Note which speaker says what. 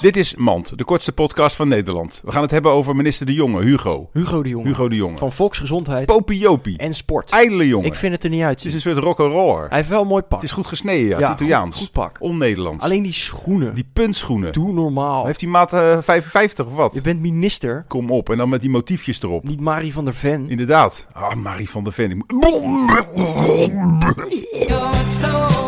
Speaker 1: Dit is Mand, de kortste podcast van Nederland. We gaan het hebben over minister De Jonge, Hugo.
Speaker 2: Hugo de Jonge.
Speaker 1: Hugo De Jonge.
Speaker 2: Van volksgezondheid
Speaker 1: Popiopie.
Speaker 2: en sport.
Speaker 1: Ijdele jongen.
Speaker 2: Ik vind het er niet uit.
Speaker 1: Het is een soort rock'n'roller.
Speaker 2: Hij heeft wel een mooi pak.
Speaker 1: Het is goed gesneden, ja. Het is Italiaans.
Speaker 2: Goed, goed pak.
Speaker 1: On-Nederlands.
Speaker 2: Alleen die schoenen.
Speaker 1: Die puntschoenen.
Speaker 2: Doe normaal.
Speaker 1: Heeft die maat eh, 55 of wat?
Speaker 2: Je bent minister,
Speaker 1: Kom op. En dan met die motiefjes erop.
Speaker 2: niet Marie van der Ven.
Speaker 1: Inderdaad. Ah, Marie van der Ven. Ik moet-
Speaker 3: You're so